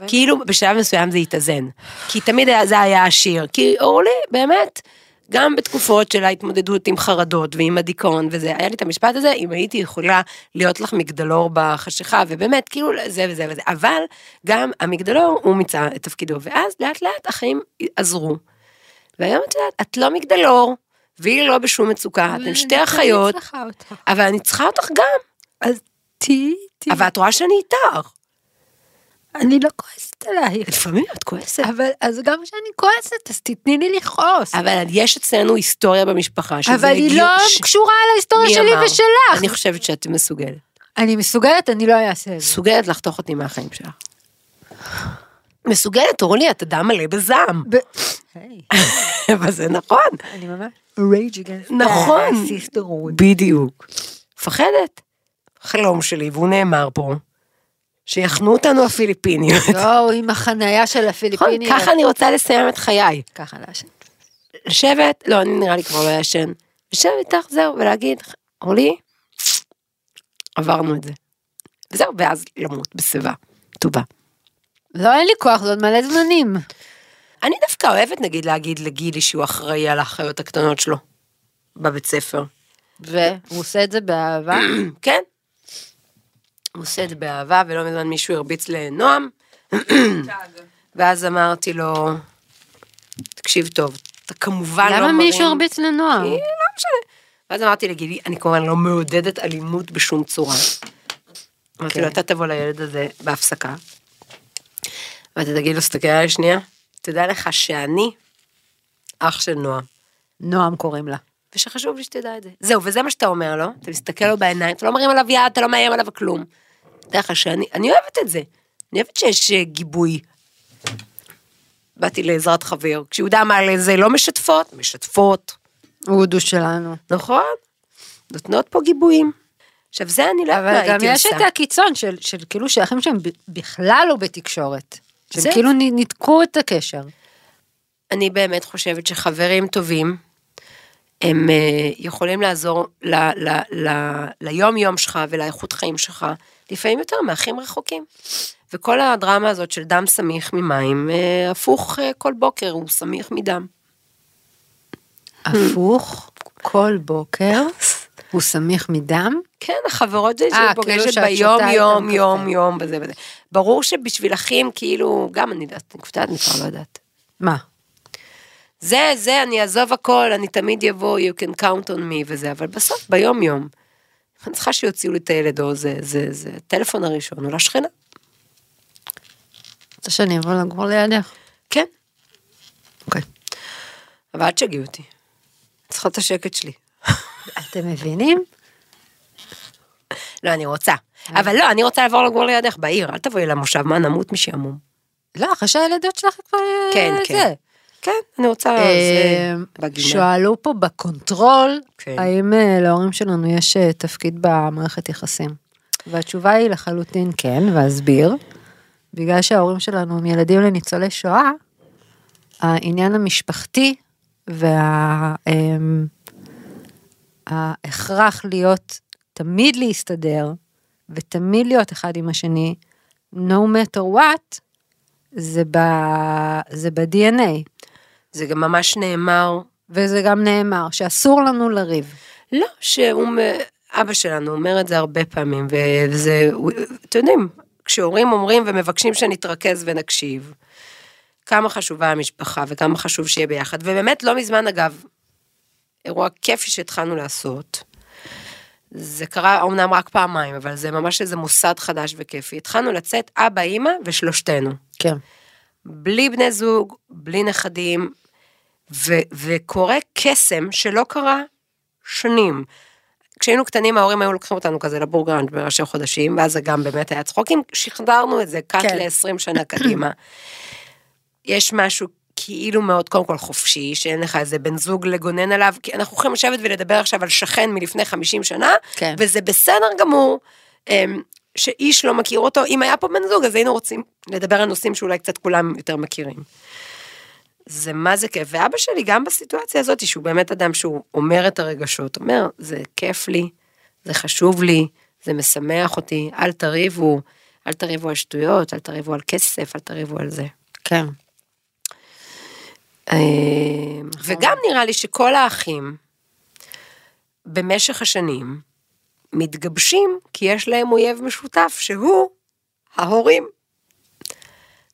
S3: כאילו בשלב מסוים זה התאזן. כי תמיד היה- זה היה השיר. כי אורלי, באמת, גם בתקופות של ההתמודדות עם חרדות ועם הדיכאון וזה, היה לי את המשפט הזה, אם הייתי יכולה להיות לך מגדלור בחשיכה, ובאמת, כאילו זה וזה וזה. אבל גם המגדלור, הוא מיצה את תפקידו, ואז לאט לאט החיים עזרו. והיום את יודעת, את לא מגדלור, והיא לא בשום מצוקה, אתן שתי אחיות,
S4: אה, אני צריכה אותך.
S3: אבל אני צריכה אותך גם.
S4: אז תהיי איתי.
S3: אבל את רואה שאני איתך.
S4: אני לא כועסת עלייך.
S3: לפעמים את כועסת.
S4: אבל אז גם כשאני כועסת, אז תתני לי לכעוס.
S3: אבל יש אצלנו היסטוריה במשפחה, שזה
S4: אבל היא
S3: הגיע-
S4: לא
S3: ש-
S4: קשורה להיסטוריה
S3: מי
S4: שלי
S3: אמר? אני
S4: ושלך.
S3: חושבת שאת מסוגלת.
S4: אני מסוגלת, אני לא אעשה את זה.
S3: מסוגלת לחתוך אותי מהחיים שלך. מסוגלת, אורלי, את אדם מלא בזעם.
S4: ב- היי,
S3: אבל זה נכון.
S4: אני ממש... rage against
S3: נכון.
S4: the sisterhood.
S3: בדיוק. מפחדת. חלום שלי, והוא נאמר פה, שיחנו אותנו הפיליפיניות.
S4: לא, עם החנייה של
S3: נכון,
S4: הפיליפינים.
S3: ככה אני רוצה לסיים את חיי.
S4: ככה לעשן.
S3: לשבת, לא, אני נראה לי כבר לא ישן, לשבת איתך, זהו, ולהגיד, אורלי, עברנו את זה. וזהו, ואז למות בשיבה, טובה.
S4: לא, אין לי כוח, זה עוד מלא זמנים.
S3: אני דווקא אוהבת, נגיד, להגיד לגילי שהוא אחראי על האחיות הקטנות שלו, בבית ספר.
S4: והוא עושה את זה באהבה.
S3: כן? הוא עושה את זה באהבה, ולא מזמן מישהו הרביץ לנועם, ואז אמרתי לו, תקשיב טוב, אתה כמובן לא
S4: למה
S3: מרים...
S4: מישהו הרביץ לנוער?
S3: כי לא משנה. ואז אמרתי לגילי, אני כמובן לא מעודדת אלימות בשום צורה. אמרתי לו, אתה תבוא לילד הזה בהפסקה, ואתה תגיד לו, תסתכל עליי שנייה, תדע לך שאני אח של נועם,
S4: נועם קוראים לה.
S3: ושחשוב לי שתדע את זה. זהו, וזה מה שאתה אומר לו, אתה מסתכל לו בעיניים, אתה לא מרים עליו יד, אתה לא מאיים עליו כלום. תדע לך שאני, אני אוהבת את זה, אני אוהבת שיש אה, גיבוי. באתי לעזרת חבר, כשיהודה אמר לי, זה לא משתפות, משתפות.
S4: הוא הודו שלנו.
S3: נכון? נותנות פה גיבויים. עכשיו זה אני לא יודעת מה
S4: אבל גם
S3: הייתי
S4: יש
S3: עושה.
S4: את הקיצון של, של כאילו שאחים שהם ב- בכלל לא בתקשורת. שהם
S3: זה-
S4: כאילו נ- ניתקו את הקשר.
S3: אני באמת חושבת שחברים טובים, הם אה, יכולים לעזור ל, ל, ל, ליום יום שלך ולאיכות חיים שלך, לפעמים יותר מאחים רחוקים. וכל הדרמה הזאת של דם סמיך ממים, אה, הפוך אה, כל בוקר, הוא סמיך מדם.
S4: הפוך, כל בוקר, הוא סמיך מדם.
S3: כן, החברות זה
S4: אה,
S3: שהיא
S4: כאילו
S3: פוגשת
S4: שאת
S3: ביום,
S4: שותה
S3: יום,
S4: איתם
S3: יום,
S4: קפה.
S3: יום, וזה וזה. ברור שבשביל אחים, כאילו, גם אני יודעת, אני קופטעת, אני כבר לא יודעת.
S4: מה?
S3: זה, זה, אני אעזוב הכל, אני תמיד יבוא, you can count on me וזה, אבל בסוף, ביום יום, אני צריכה שיוציאו לי את הילד, או זה, זה, זה, הטלפון הראשון, הוא לשכנה.
S4: רוצה שאני אבוא לגור לידך?
S3: כן,
S4: אוקיי.
S3: אבל אל תשגעי אותי. אני צריכה את השקט שלי.
S4: אתם מבינים?
S3: לא, אני רוצה. אבל לא, אני רוצה לעבור לגור לידך בעיר, אל תבואי למושב, מה, נמות משעמום.
S4: לא, אחרי שהילדות שלך כבר... אה,
S3: כן,
S4: זה.
S3: כן. כן, אני רוצה...
S4: אה,
S3: זה בגינה.
S4: שאלו פה בקונטרול,
S3: כן.
S4: האם אה, להורים שלנו יש אה, תפקיד במערכת יחסים? והתשובה היא לחלוטין כן, ואסביר. בגלל שההורים שלנו הם ילדים לניצולי שואה, העניין המשפחתי וה... אמ, ההכרח להיות, תמיד להסתדר, ותמיד להיות אחד עם השני, no matter what, זה, ב, זה ב-DNA.
S3: זה גם ממש נאמר,
S4: וזה גם נאמר, שאסור לנו לריב.
S3: לא, שהוא, מ- אבא שלנו אומר את זה הרבה פעמים, ו- וזה, הוא- אתם יודעים, כשהורים אומרים ומבקשים שנתרכז ונקשיב, כמה חשובה המשפחה וכמה חשוב שיהיה ביחד, ובאמת לא מזמן אגב, אירוע כיפי שהתחלנו לעשות, זה קרה אומנם רק פעמיים, אבל זה ממש איזה מוסד חדש וכיפי, התחלנו לצאת אבא, אימא ושלושתנו.
S4: כן.
S3: בלי בני זוג, בלי נכדים, ו- וקורה קסם שלא קרה שנים. כשהיינו קטנים ההורים היו לוקחים אותנו כזה לבורגרנד בראשי חודשים, ואז זה גם באמת היה צחוקים, שחזרנו את זה קאט
S4: כן.
S3: כן. ל-20 שנה קדימה. יש משהו כאילו מאוד קודם כל חופשי, שאין לך איזה בן זוג לגונן עליו, כי אנחנו יכולים לשבת ולדבר עכשיו על שכן מלפני 50 שנה,
S4: כן.
S3: וזה בסדר גמור. אמ, שאיש לא מכיר אותו, אם היה פה בן זוג אז היינו רוצים לדבר על נושאים שאולי קצת כולם יותר מכירים. זה מה זה כיף, ואבא שלי גם בסיטואציה הזאת, שהוא באמת אדם שהוא אומר את הרגשות, אומר, זה כיף לי, זה חשוב לי, זה משמח אותי, אל תריבו, אל תריבו על שטויות, אל תריבו על כסף, אל תריבו על זה.
S4: כן.
S3: אה, נכון. וגם נראה לי שכל האחים, במשך השנים, מתגבשים כי יש להם אויב משותף, שהוא ההורים.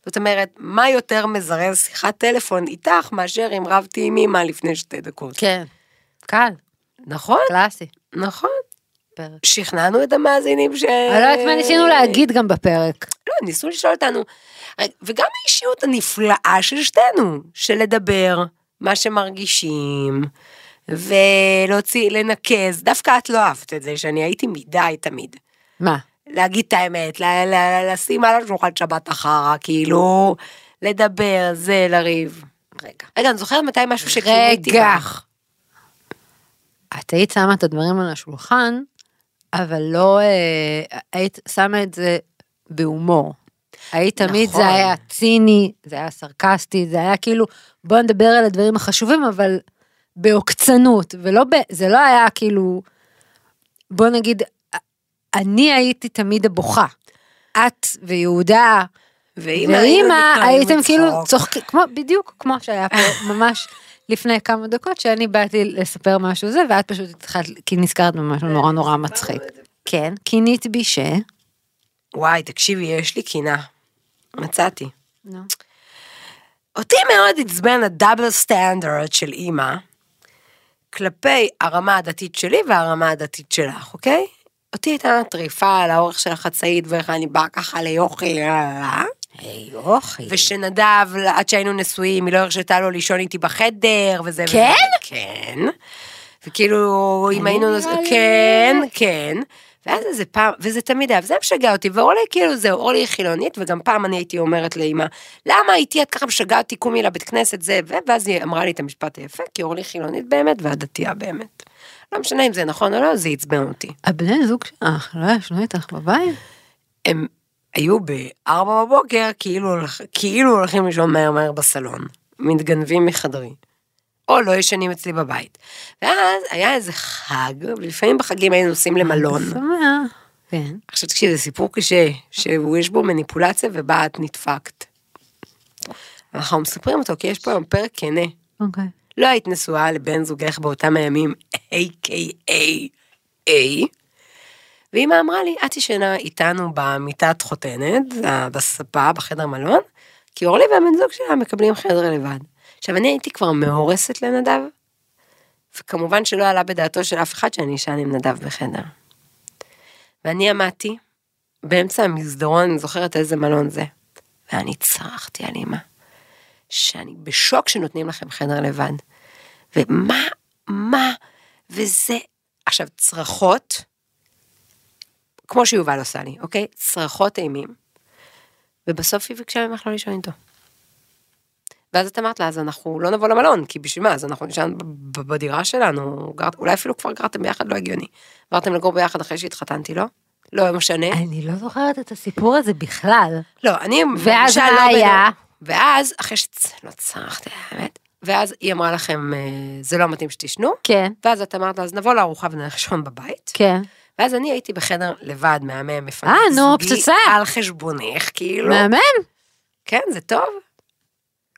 S3: זאת אומרת, מה יותר מזרז שיחת טלפון איתך מאשר אם רבתי עם אמא לפני שתי דקות.
S4: כן. קל,
S3: נכון,
S4: קלאסי.
S3: נכון.
S4: פרק.
S3: שכנענו את המאזינים ש...
S4: כן. אני לא יודעת מה ניסינו להגיד גם בפרק.
S3: לא, הם ניסו לשאול אותנו. וגם האישיות הנפלאה של שתינו, של לדבר מה שמרגישים, ולהוציא, לנקז. דווקא את לא אהבת את זה, שאני הייתי מדי תמיד.
S4: מה?
S3: להגיד את האמת, ל- ל- לשים על השולחן שבת אחרה, כאילו, לדבר, זה, לריב. רגע. רגע, אני זוכרת מתי משהו שכיביתי
S4: רגע.
S3: בך.
S4: את היית שמה את הדברים על השולחן, אבל לא... אה, היית שמה את זה בהומור. היית תמיד,
S3: נכון.
S4: זה היה ציני, זה היה סרקסטי, זה היה כאילו, בוא נדבר על הדברים החשובים, אבל בעוקצנות, ולא ב... זה לא היה כאילו... בוא נגיד, אני הייתי תמיד הבוכה. את ויהודה
S3: ואמא,
S4: ואימא,
S3: היינו
S4: הייתם
S3: מתלהמים
S4: כאילו
S3: מצחוק.
S4: צוחקים, כמו, בדיוק כמו שהיה פה ממש לפני כמה דקות, שאני באתי לספר משהו זה, ואת פשוט התחלת, כי נזכרת במשהו נורא נורא מצחיק. כן, קינית בי ש...
S3: וואי, תקשיבי, יש לי קינה. מצאתי.
S4: נו.
S3: אותי מאוד עצבן הדאבל סטנדרט של אימא, כלפי הרמה הדתית שלי והרמה הדתית שלך, אוקיי? אותי הייתה טריפה על האורך של החצאית ואיך אני באה ככה ליוכי, אה, לה, לה, לה.
S4: היי, אוכי.
S3: ושנדב, עד שהיינו נשואים, היא לא הרשתה לו לישון איתי בחדר, וזה...
S4: כן? אה,
S3: וזה- כן. וכאילו, אם היינו
S4: נראה
S3: נשואים...
S4: לי-
S3: כן, כן. ואז איזה פעם, וזה תמיד היה, וזה היה משגע אותי, ואורלי כאילו זהו, אורלי היא חילונית, וגם פעם אני הייתי אומרת לאמא, למה איתי את ככה משגעת אותי, קומי לבית כנסת זה, ו- ואז היא אמרה לי את המשפט היפה, כי אורלי חילונית באמת, ואת דתייה באמת. לא משנה אם זה נכון או לא, זה עצבן אותי.
S4: הבני זוג שלך לא ישנו איתך בבית?
S3: הם היו בארבע בבוקר, כאילו, הולכ- כאילו הולכים לישון מהר מהר בסלון, מתגנבים מחדרי, או לא ישנים אצלי בבית. ואז היה איזה חג, ולפעמים בחגים היינו נוסעים למלון.
S4: שמח. כן.
S3: עכשיו תקשיב, זה סיפור קשה, שיש בו מניפולציה ובה את נדפקת. אנחנו מספרים אותו, כי יש פה היום פרק כנה.
S4: אוקיי.
S3: לא היית נשואה לבן זוגך באותם הימים, A.K.A. A. ואמא אמרה לי, את ישנה איתנו במיטת חותנת, אה, בספה, בחדר מלון, כי אורלי והבן זוג שלה מקבלים חדר לבד. עכשיו, אני הייתי כבר מאורסת לנדב, וכמובן שלא עלה בדעתו של אף אחד שאני אשן עם נדב בחדר. ואני עמדתי באמצע המסדרון, אני זוכרת איזה מלון זה, ואני צרחתי על אמא. שאני בשוק שנותנים לכם חדר לבד. ומה, מה, וזה, עכשיו, צרחות, כמו שיובל עושה לי, אוקיי? צרחות אימים. ובסוף היא ביקשה ממך לא לישון איתו. ואז את אמרת לה, אז אנחנו לא נבוא למלון, כי בשביל מה, אז אנחנו נשען ב- ב- בדירה שלנו, גרת, אולי אפילו כבר גרתם ביחד, לא הגיוני. עברתם לגור ביחד אחרי שהתחתנתי, לא? לא משנה.
S4: אני לא זוכרת את הסיפור הזה בכלל.
S3: לא, אני...
S4: ואז
S3: למשל
S4: מה
S3: לא בין-
S4: היה?
S3: ואז, אחרי ש... לא צרחתי, האמת. ואז היא אמרה לכם, אה, זה לא מתאים שתשנו.
S4: כן,
S3: ואז את אמרת לה, אז נבוא לארוחה ונרשום בבית.
S4: כן.
S3: ואז אני הייתי בחדר לבד, מהמם, מפנק
S4: אה, נו,
S3: זוגי,
S4: פצצה.
S3: על חשבונך,
S4: לא.
S3: כאילו.
S4: מהמם,
S3: כן, זה טוב.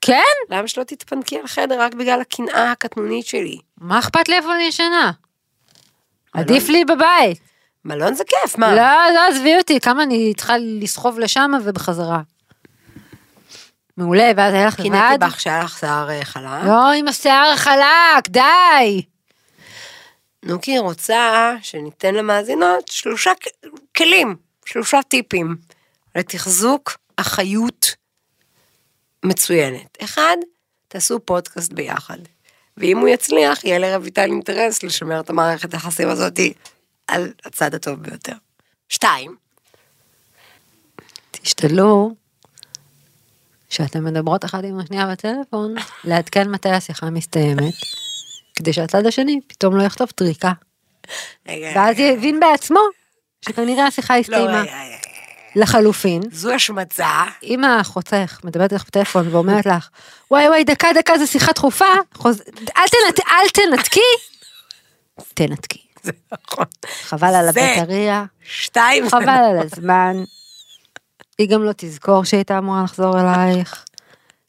S4: כן?
S3: למה שלא תתפנקי על חדר רק בגלל הקנאה הקטנונית שלי?
S4: מה אכפת לי איפה אני לא ישנה?
S3: מלון.
S4: עדיף לי בבית.
S3: מלון זה כיף, מה?
S4: לא, לא, עזבי אותי, כמה אני צריכה לסחוב לשם ובחזרה. מעולה, ואז היה לך לבד?
S3: קינאתי בך שהיה לך שיער אה, חלק.
S4: לא, עם השיער החלק, די!
S3: נו, כי היא רוצה שניתן למאזינות שלושה כ- כלים, שלושה טיפים לתחזוק אחיות מצוינת. אחד, תעשו פודקאסט ביחד. ואם הוא יצליח, יהיה לרויטל אינטרס לשמר את המערכת היחסים הזאת על הצד הטוב ביותר. שתיים,
S4: תשתדלו שאתן מדברות אחת עם השנייה בטלפון, לעדכן מתי השיחה מסתיימת, כדי שהצד השני פתאום לא יכתוב טריקה.
S3: רגע,
S4: ואז יבין בעצמו שכנראה השיחה
S3: לא, רגע,
S4: הסתיימה.
S3: רגע,
S4: לחלופין,
S3: זו השמצה.
S4: אם החותך מדברת איתך בטלפון ואומרת לך, וואי וואי, דקה דקה זו שיחה דחופה, חוז... אל, תנת... אל תנתקי, תנתקי.
S3: זה נכון.
S4: חבל על
S3: זה.
S4: הבטריה,
S3: שתיים, זה
S4: חבל על הזמן. היא גם לא תזכור שהיא הייתה אמורה לחזור אלייך.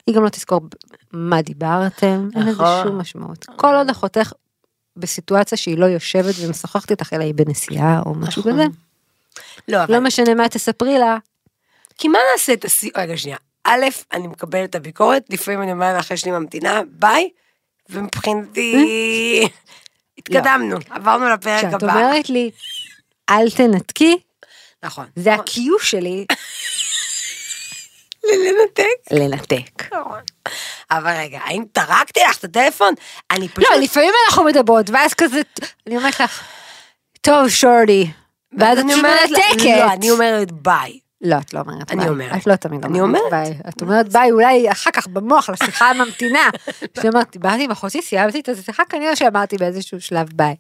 S4: היא גם לא תזכור ב- מה דיברתם, אין לזה
S3: נכון.
S4: שום משמעות. כל עוד אחותך בסיטואציה שהיא לא יושבת ומשוחחת איתך, אלא היא בנסיעה או משהו
S3: נכון.
S4: כזה,
S3: לא, אבל
S4: לא משנה מה תספרי לה,
S3: כי מה נעשה את הסי... רגע, שנייה. א', אני מקבלת את הביקורת, לפעמים אני אומרת לך, יש לי ממתינה, ביי, ומבחינתי... התקדמנו, עברנו לפרק הבא.
S4: אה? לא. כשאת אומרת לי, אל תנתקי,
S3: נכון.
S4: זה ה-Q שלי
S3: לנתק.
S4: לנתק.
S3: נכון. אבל רגע, האם טרקתי לך את הטלפון? אני פשוט...
S4: לא, לפעמים אנחנו מדברות, ואז כזה, אני אומרת לך, טוב, שורדי. ואז את
S3: אני
S4: פשוט
S3: אומרת לה-
S4: מנתקת.
S3: לא, אני אומרת ביי.
S4: לא, את לא אומרת
S3: אני
S4: ביי.
S3: אומרת.
S4: את לא תמיד
S3: אני
S4: אומרת
S3: אומרת.
S4: ביי. את אומרת ביי, אולי אחר כך במוח לשיחה הממתינה. שאמרתי, באתי עם אחותי, סיימתי את השיחה, כנראה שאמרתי באיזשהו שלב ביי.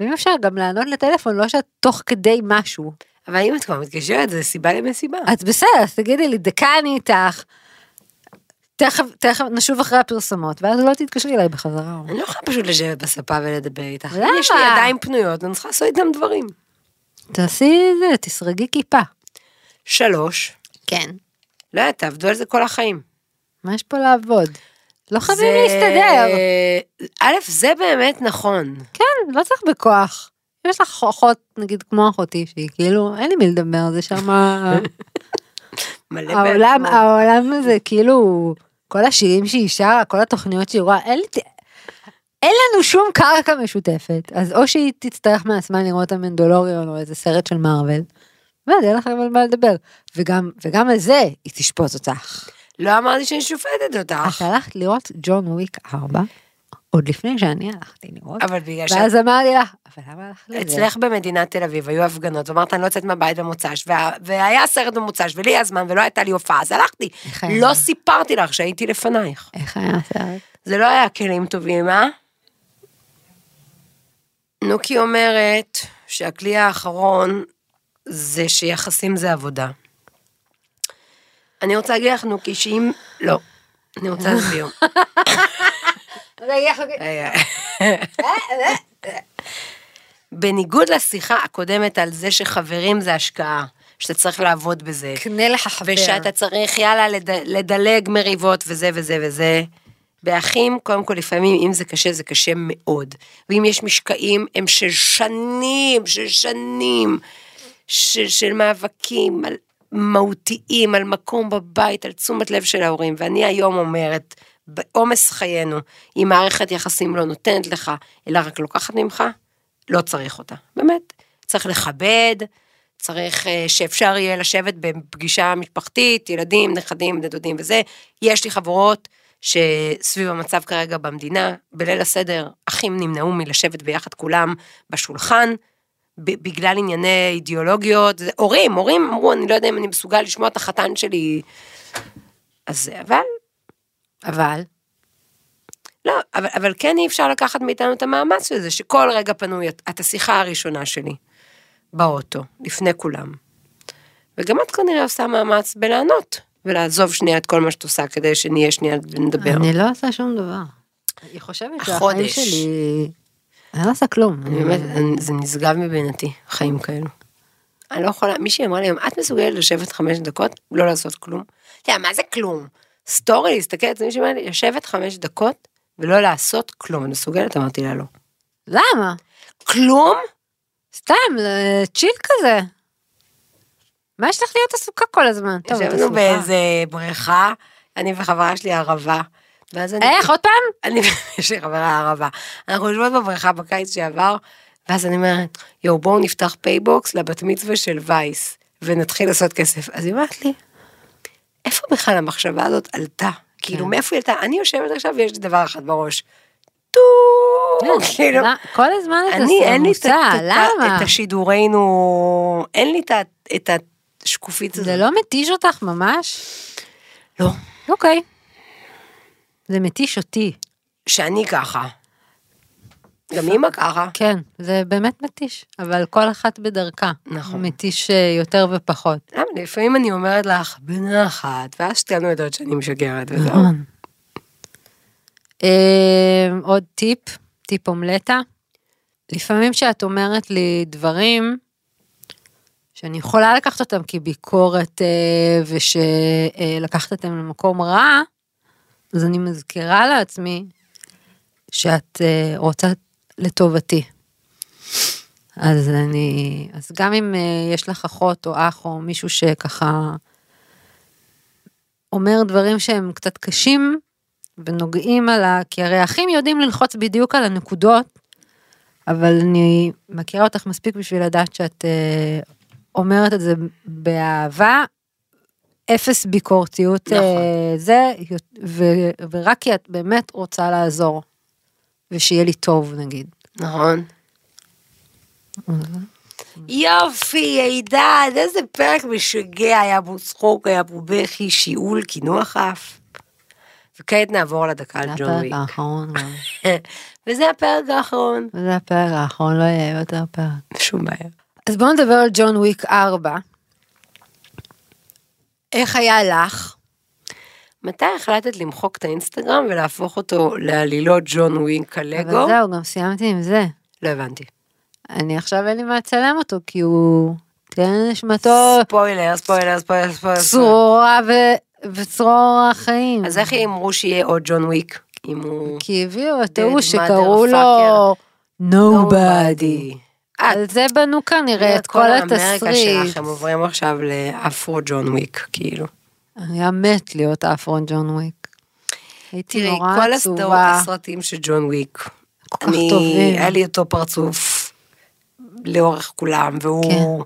S4: ואם אפשר גם לענות לטלפון, לא שאת תוך כדי משהו.
S3: אבל אם את כבר מתקשרת, זה סיבה למסיבה.
S4: אז בסדר, אז תגידי לי, דקה אני איתך. תכף, תכף נשוב אחרי הפרסומות, ואז לא תתקשרי אליי בחזרה.
S3: אני לא יכולה פשוט לשבת בספה ולדבר איתך.
S4: למה?
S3: יש לי ידיים פנויות, אני צריכה לעשות איתם דברים.
S4: תעשי את זה, תסרגי כיפה.
S3: שלוש,
S4: כן.
S3: לא יודעת, תעבדו על זה כל החיים.
S4: מה יש פה לעבוד? לא חייבים
S3: זה-
S4: להסתדר.
S3: א', זה באמת נכון.
S4: כן, לא צריך בכוח. אם יש לך אחות, נגיד כמו אחותי, שהיא כאילו, אין לי מי לדבר, זה שם
S3: מלא
S4: העולם,
S3: בעצמו.
S4: העולם הזה, כאילו, כל השירים שהיא שרה, כל התוכניות שהיא רואה, אין, לי- אין לנו שום קרקע משותפת. אז או שהיא תצטרך מעצמה לראות את המנדולוריון או איזה סרט של מארוול, ואז אין לך על מה לדבר. וגם, וגם על זה היא תשפוט אותך.
S3: לא אמרתי שאני שופטת אותך,
S4: את הלכת לראות ג'ון וויק 4, עוד לפני שאני הלכתי לראות,
S3: אבל בגלל
S4: ואז אמרתי לך, אבל למה הלכת לזה?
S3: שאצלך במדינת תל אביב היו הפגנות, ואמרת אני לא יוצאת מהבית במוצ"ש, וה- והיה סרט במוצ"ש, ולי היה זמן, ולא הייתה לי הופעה, אז הלכתי.
S4: איך היה?
S3: לא סיפרתי לך שהייתי לפנייך.
S4: איך היה הסרט?
S3: זה לא היה כלים טובים, אה? נוקי אומרת שהכלי האחרון זה שיחסים זה עבודה. אני רוצה להגיד לך, נוקי, שאם... לא. אני רוצה להסביר. אה, רגע. אה, בניגוד לשיחה הקודמת על זה שחברים זה השקעה, שאתה צריך לעבוד בזה,
S4: קנה לך חבר.
S3: ושאתה צריך יאללה לד, לדלג מריבות וזה וזה וזה. באחים, קודם כל לפעמים אם זה קשה, זה קשה מאוד. ואם יש משקעים, הם של שנים, של שנים, של, של מאבקים על מהותיים, על מקום בבית, על תשומת לב של ההורים. ואני היום אומרת, בעומס חיינו, אם מערכת יחסים לא נותנת לך, אלא רק לוקחת ממך, לא צריך אותה. באמת. צריך לכבד, צריך אה, שאפשר יהיה לשבת בפגישה משפחתית, ילדים, נכדים, בני דודים וזה. יש לי חברות שסביב המצב כרגע במדינה, בליל הסדר, אחים נמנעו מלשבת ביחד כולם בשולחן, ב- בגלל ענייני אידיאולוגיות, זה- הורים, הורים אמרו, אני לא יודע אם אני מסוגל לשמוע את החתן שלי. אז זה, אבל,
S4: אבל,
S3: לא, אבל, אבל כן אי אפשר לקחת מאיתנו את המאמץ של זה, שכל רגע פנוי, את, את השיחה הראשונה שלי, באוטו, לפני כולם. וגם את כנראה עושה מאמץ בלענות, ולעזוב שנייה את כל מה שאת עושה, כדי שנהיה שנייה ונדבר.
S4: אני לא עושה שום דבר. היא חושבת שהחיים
S3: החודש. אוקיי.
S4: שלי... אני לא עושה כלום.
S3: אני
S4: אני-
S3: באמת, אני- זה נשגב מבינתי, חיים כאלו. אני לא יכולה, מישהי אמרה לי, את מסוגלת לשבת חמש דקות, לא לעשות כלום? אתה יודע, מה זה כלום? סטורי, להסתכל על זה, מישהי אמרה לי, לשבת חמש דקות ולא לעשות כלום. את מסוגלת? אמרתי לה לא.
S4: למה?
S3: כלום?
S4: סתם, אה, צ'יל כזה. מה יש לך להיות עסוקה כל הזמן? טוב, את
S3: ישבנו
S4: עסוקה.
S3: באיזה בריכה, אני וחברה שלי ערבה. ואז אני...
S4: איך, עוד פעם?
S3: אני, יש לי חברה ערבה. אנחנו יושבות בבריכה בקיץ שעבר, ואז אני אומרת, יואו, בואו נפתח פייבוקס לבת מצווה של וייס, ונתחיל לעשות כסף. אז היא אומרת לי, איפה בכלל המחשבה הזאת עלתה?
S4: כן.
S3: כאילו, מאיפה היא עלתה? אני יושבת עכשיו ויש לי דבר אחד בראש. טו! כאילו,
S4: לא, מה- כן. כל הזמן את
S3: אני, אין לי את ה-
S4: עסוקה,
S3: את ה-
S4: למה?
S3: את השידורנו, אין לי את ה- את השקופית הזאת.
S4: זה לא מתיש אותך ממש?
S3: לא.
S4: אוקיי. זה מתיש אותי.
S3: שאני ככה. גם אימא ככה.
S4: כן, זה באמת מתיש, אבל כל אחת בדרכה.
S3: נכון.
S4: מתיש אה, יותר ופחות.
S3: למה? לפעמים אני אומרת לך, בנחת, ואז שתינו יודעות שאני משגרת וזהו.
S4: אה, עוד טיפ, טיפ אומלטה. לפעמים כשאת אומרת לי דברים שאני יכולה לקחת אותם כביקורת אה, ושלקחת אותם למקום רע, אז אני מזכירה לעצמי שאת אה, רוצה לטובתי. אז אני, אז גם אם אה, יש לך אחות או אח או מישהו שככה אומר דברים שהם קצת קשים ונוגעים על ה... כי הרי אחים יודעים ללחוץ בדיוק על הנקודות, אבל אני מכירה אותך מספיק בשביל לדעת שאת אה, אומרת את זה באהבה, אפס ביקורתיות,
S3: נכון.
S4: אה, זה, יות- ו, ורק כי את באמת רוצה לעזור, ושיהיה לי טוב נגיד.
S3: נכון. יופי, עידן, איזה פרק משגע, היה בו צחוק, היה בו בכי, שיעול, קינוח אף. וכעת נעבור לדקה על
S4: זה
S3: ג'ון
S4: הפרק
S3: וויק.
S4: האחרון גם.
S3: וזה הפרק האחרון.
S4: זה הפרק האחרון, לא יהיה יותר פרק.
S3: שום בעיה.
S4: אז בואו נדבר על ג'ון וויק 4. איך היה לך?
S3: מתי החלטת למחוק את האינסטגרם ולהפוך אותו לעלילות ג'ון וויק הלגו?
S4: אבל זהו, גם סיימתי עם זה.
S3: לא הבנתי.
S4: אני עכשיו אין לי מה לצלם אותו, כי הוא... תן נשמתו
S3: ספוילר, ספוילר, ספוילר, ספוילר.
S4: צרורה ו... וצרור החיים.
S3: אז איך אמרו שיהיה עוד ג'ון וויק? אם הוא...
S4: כי הביאו את
S3: Dead
S4: ההוא שקראו לו nobody. על זה בנו כנראה את כל
S3: אמריקה
S4: התסריט.
S3: שלכם עוברים עכשיו לאפרו ג'ון וויק, כאילו.
S4: היה מת להיות אפרון ג'ון וויק. הייתי
S3: תראי,
S4: נורא
S3: כל הסדרות-
S4: עצובה.
S3: הסרטים של ג'ון וויק,
S4: כל כך
S3: אני,
S4: טובים.
S3: היה לי אותו פרצוף לאורך כולם,
S4: כן.
S3: והוא...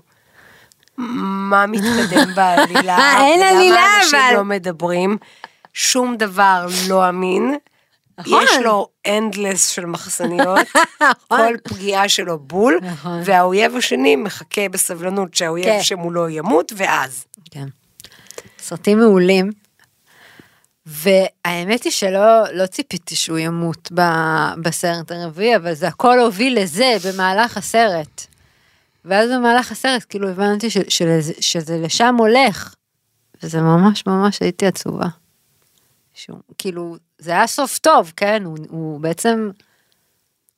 S3: מה מתקדם בעלילה?
S4: אה, אין עלילה,
S3: למה אנשים
S4: אבל.
S3: לא מדברים? שום דבר לא אמין.
S4: נכון.
S3: יש לו אנדלס של מחסניות, כל פגיעה שלו בול,
S4: נכון.
S3: והאויב השני מחכה בסבלנות שהאויב
S4: כן.
S3: שמולו ימות, ואז.
S4: כן. סרטים מעולים. והאמת היא שלא לא ציפיתי שהוא ימות ב, בסרט הרביעי, אבל זה הכל הוביל לזה במהלך הסרט. ואז במהלך הסרט כאילו הבנתי ש, שזה, שזה לשם הולך. וזה ממש ממש הייתי עצובה. שהוא, כאילו, זה היה סוף טוב, כן? הוא, הוא בעצם,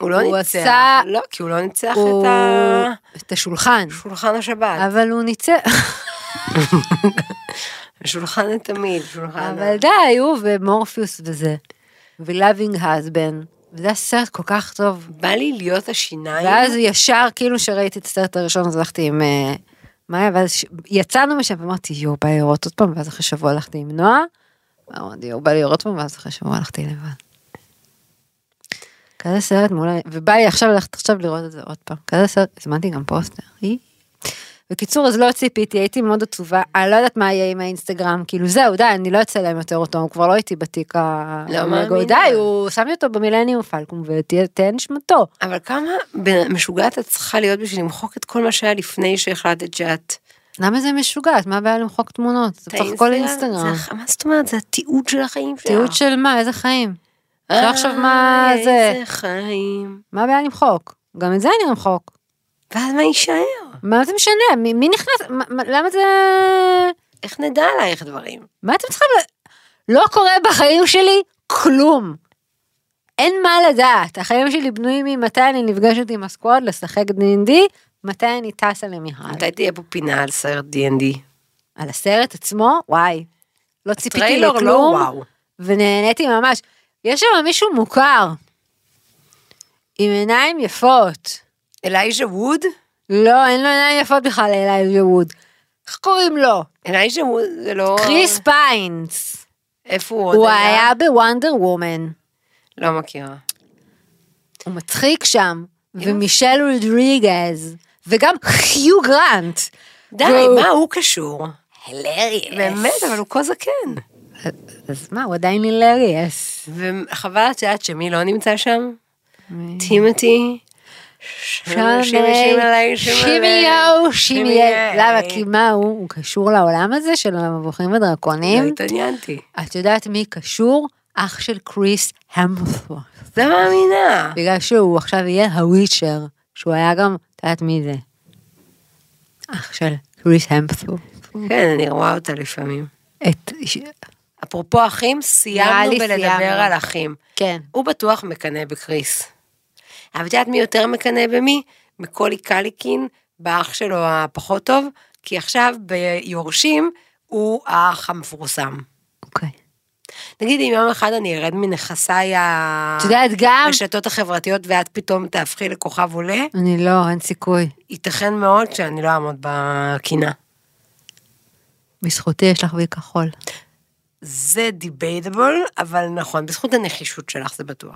S3: הוא לא
S4: הוא
S3: ניצח,
S4: עשה-
S3: לא, כי הוא לא ניצח
S4: הוא...
S3: את
S4: את השולחן.
S3: השולחן השבת,
S4: אבל הוא ניצח,
S3: השולחן התמיד, שולחן... ה-
S4: אבל די, הוא ומורפיוס וזה. ו-Loving husband. וזה היה סרט כל כך טוב.
S3: בא לי להיות השיניים,
S4: ואז ישר, כאילו שראיתי את הסרט הראשון, אז הלכתי עם אה, מאיה, ואז ש- יצאנו משם ואמרתי, יואו, בא לי לראות עוד פעם, ואז אחרי שבוע הלכתי עם נועה. אמרתי, יואו, בא לי לראות עוד פעם, ואז אחרי שבוע הלכתי לבד. כזה סרט מעולה, ובא לי עכשיו ללכת עכשיו לראות את זה עוד פעם. כזה סרט, הזמנתי גם פוסטר. אי. בקיצור, אז לא ציפיתי, הייתי מאוד עצובה, אני לא יודעת מה יהיה עם האינסטגרם, כאילו זהו, די, אני לא אצלם יותר אותו, הוא כבר לא איתי בתיק ה...
S3: לא
S4: המגו-
S3: מאמינה.
S4: די, הוא שם לי אותו במילניום פלקום, ותהיה נשמתו.
S3: אבל כמה בן- משוגעת את צריכה להיות בשביל למחוק את כל מה שהיה לפני שהחלטת שאת...
S4: למה זה משוגעת? מה הבעיה למחוק תמונות? זה בסך הכל אינסטגרם.
S3: זה- מה זאת אומרת? זה התיעוד של החיים שלך.
S4: תיעוד של מה? איזה חיים?
S3: אה,
S4: עכשיו מה זה.
S3: איזה חיים.
S4: מה הבעיה למחוק? גם את זה אני אמחוק.
S3: ואז מה יישאר?
S4: מה זה משנה? מי, מי נכנס? מה, מה, למה זה...
S3: איך נדע עלייך דברים?
S4: מה אתם צריכים... ל- לא קורה בחיים שלי כלום. אין מה לדעת. החיים שלי בנויים ממתי אני נפגשת עם הסקוואד לשחק D&D, מתי אני טסה למיכל.
S3: מתי תהיה פה פינה על סרט D&D?
S4: על הסרט עצמו? וואי. לא ציפיתי
S3: טריילר
S4: לכלום.
S3: לא וואו.
S4: ונהניתי ממש. יש שם מישהו מוכר, עם עיניים יפות.
S3: אלייז'ה ווד?
S4: לא, אין לו עיניים יפות בכלל, אלייז'ה ווד. איך קוראים לו?
S3: אלייז'ה ווד זה לא...
S4: קריס פיינס.
S3: איפה הוא עוד
S4: הוא היה בוונדר וומן.
S3: לא מכירה.
S4: הוא מצחיק שם. ומישל רודריגז. וגם חיו גרנט.
S3: די,
S4: והוא-
S3: מה הוא קשור?
S4: הילריאס.
S3: באמת, אבל הוא כה זקן.
S4: אז מה, הוא עדיין הילריאס.
S3: וחבל את יודעת שמי לא נמצא שם? טימתי. שימי, שימי עליי, שימי עליי.
S4: שימיהו, שימיהו.
S3: שימיהו.
S4: למה? כי מה הוא? הוא קשור לעולם הזה של המבוכים
S3: לא
S4: ודרקונים.
S3: התעניינתי.
S4: את יודעת מי קשור? אח של קריס המפורט.
S3: לא מאמינה.
S4: בגלל שהוא עכשיו יהיה הוויצ'ר, שהוא היה גם, את יודעת מי זה? אח של קריס המפורט.
S3: כן, אני רואה אותה לפעמים.
S4: את...
S3: אפרופו אחים,
S4: נראה
S3: סיימנו
S4: לי
S3: בלדבר
S4: סיימנו.
S3: על אחים.
S4: כן.
S3: הוא בטוח מקנא בקריס. אבל את יודעת מי יותר מקנא במי? מקולי קליקין, באח שלו הפחות טוב, כי עכשיו ביורשים הוא האח המפורסם.
S4: אוקיי.
S3: נגיד אם יום אחד אני ארד מנכסיי
S4: את יודעת גם?
S3: הרשתות החברתיות ואת פתאום תהפכי לכוכב עולה,
S4: אני לא, אין סיכוי.
S3: ייתכן מאוד שאני לא אעמוד בקינה.
S4: בזכותי יש לך וי כחול.
S3: זה דיבייטבול, אבל נכון, בזכות הנחישות שלך זה בטוח.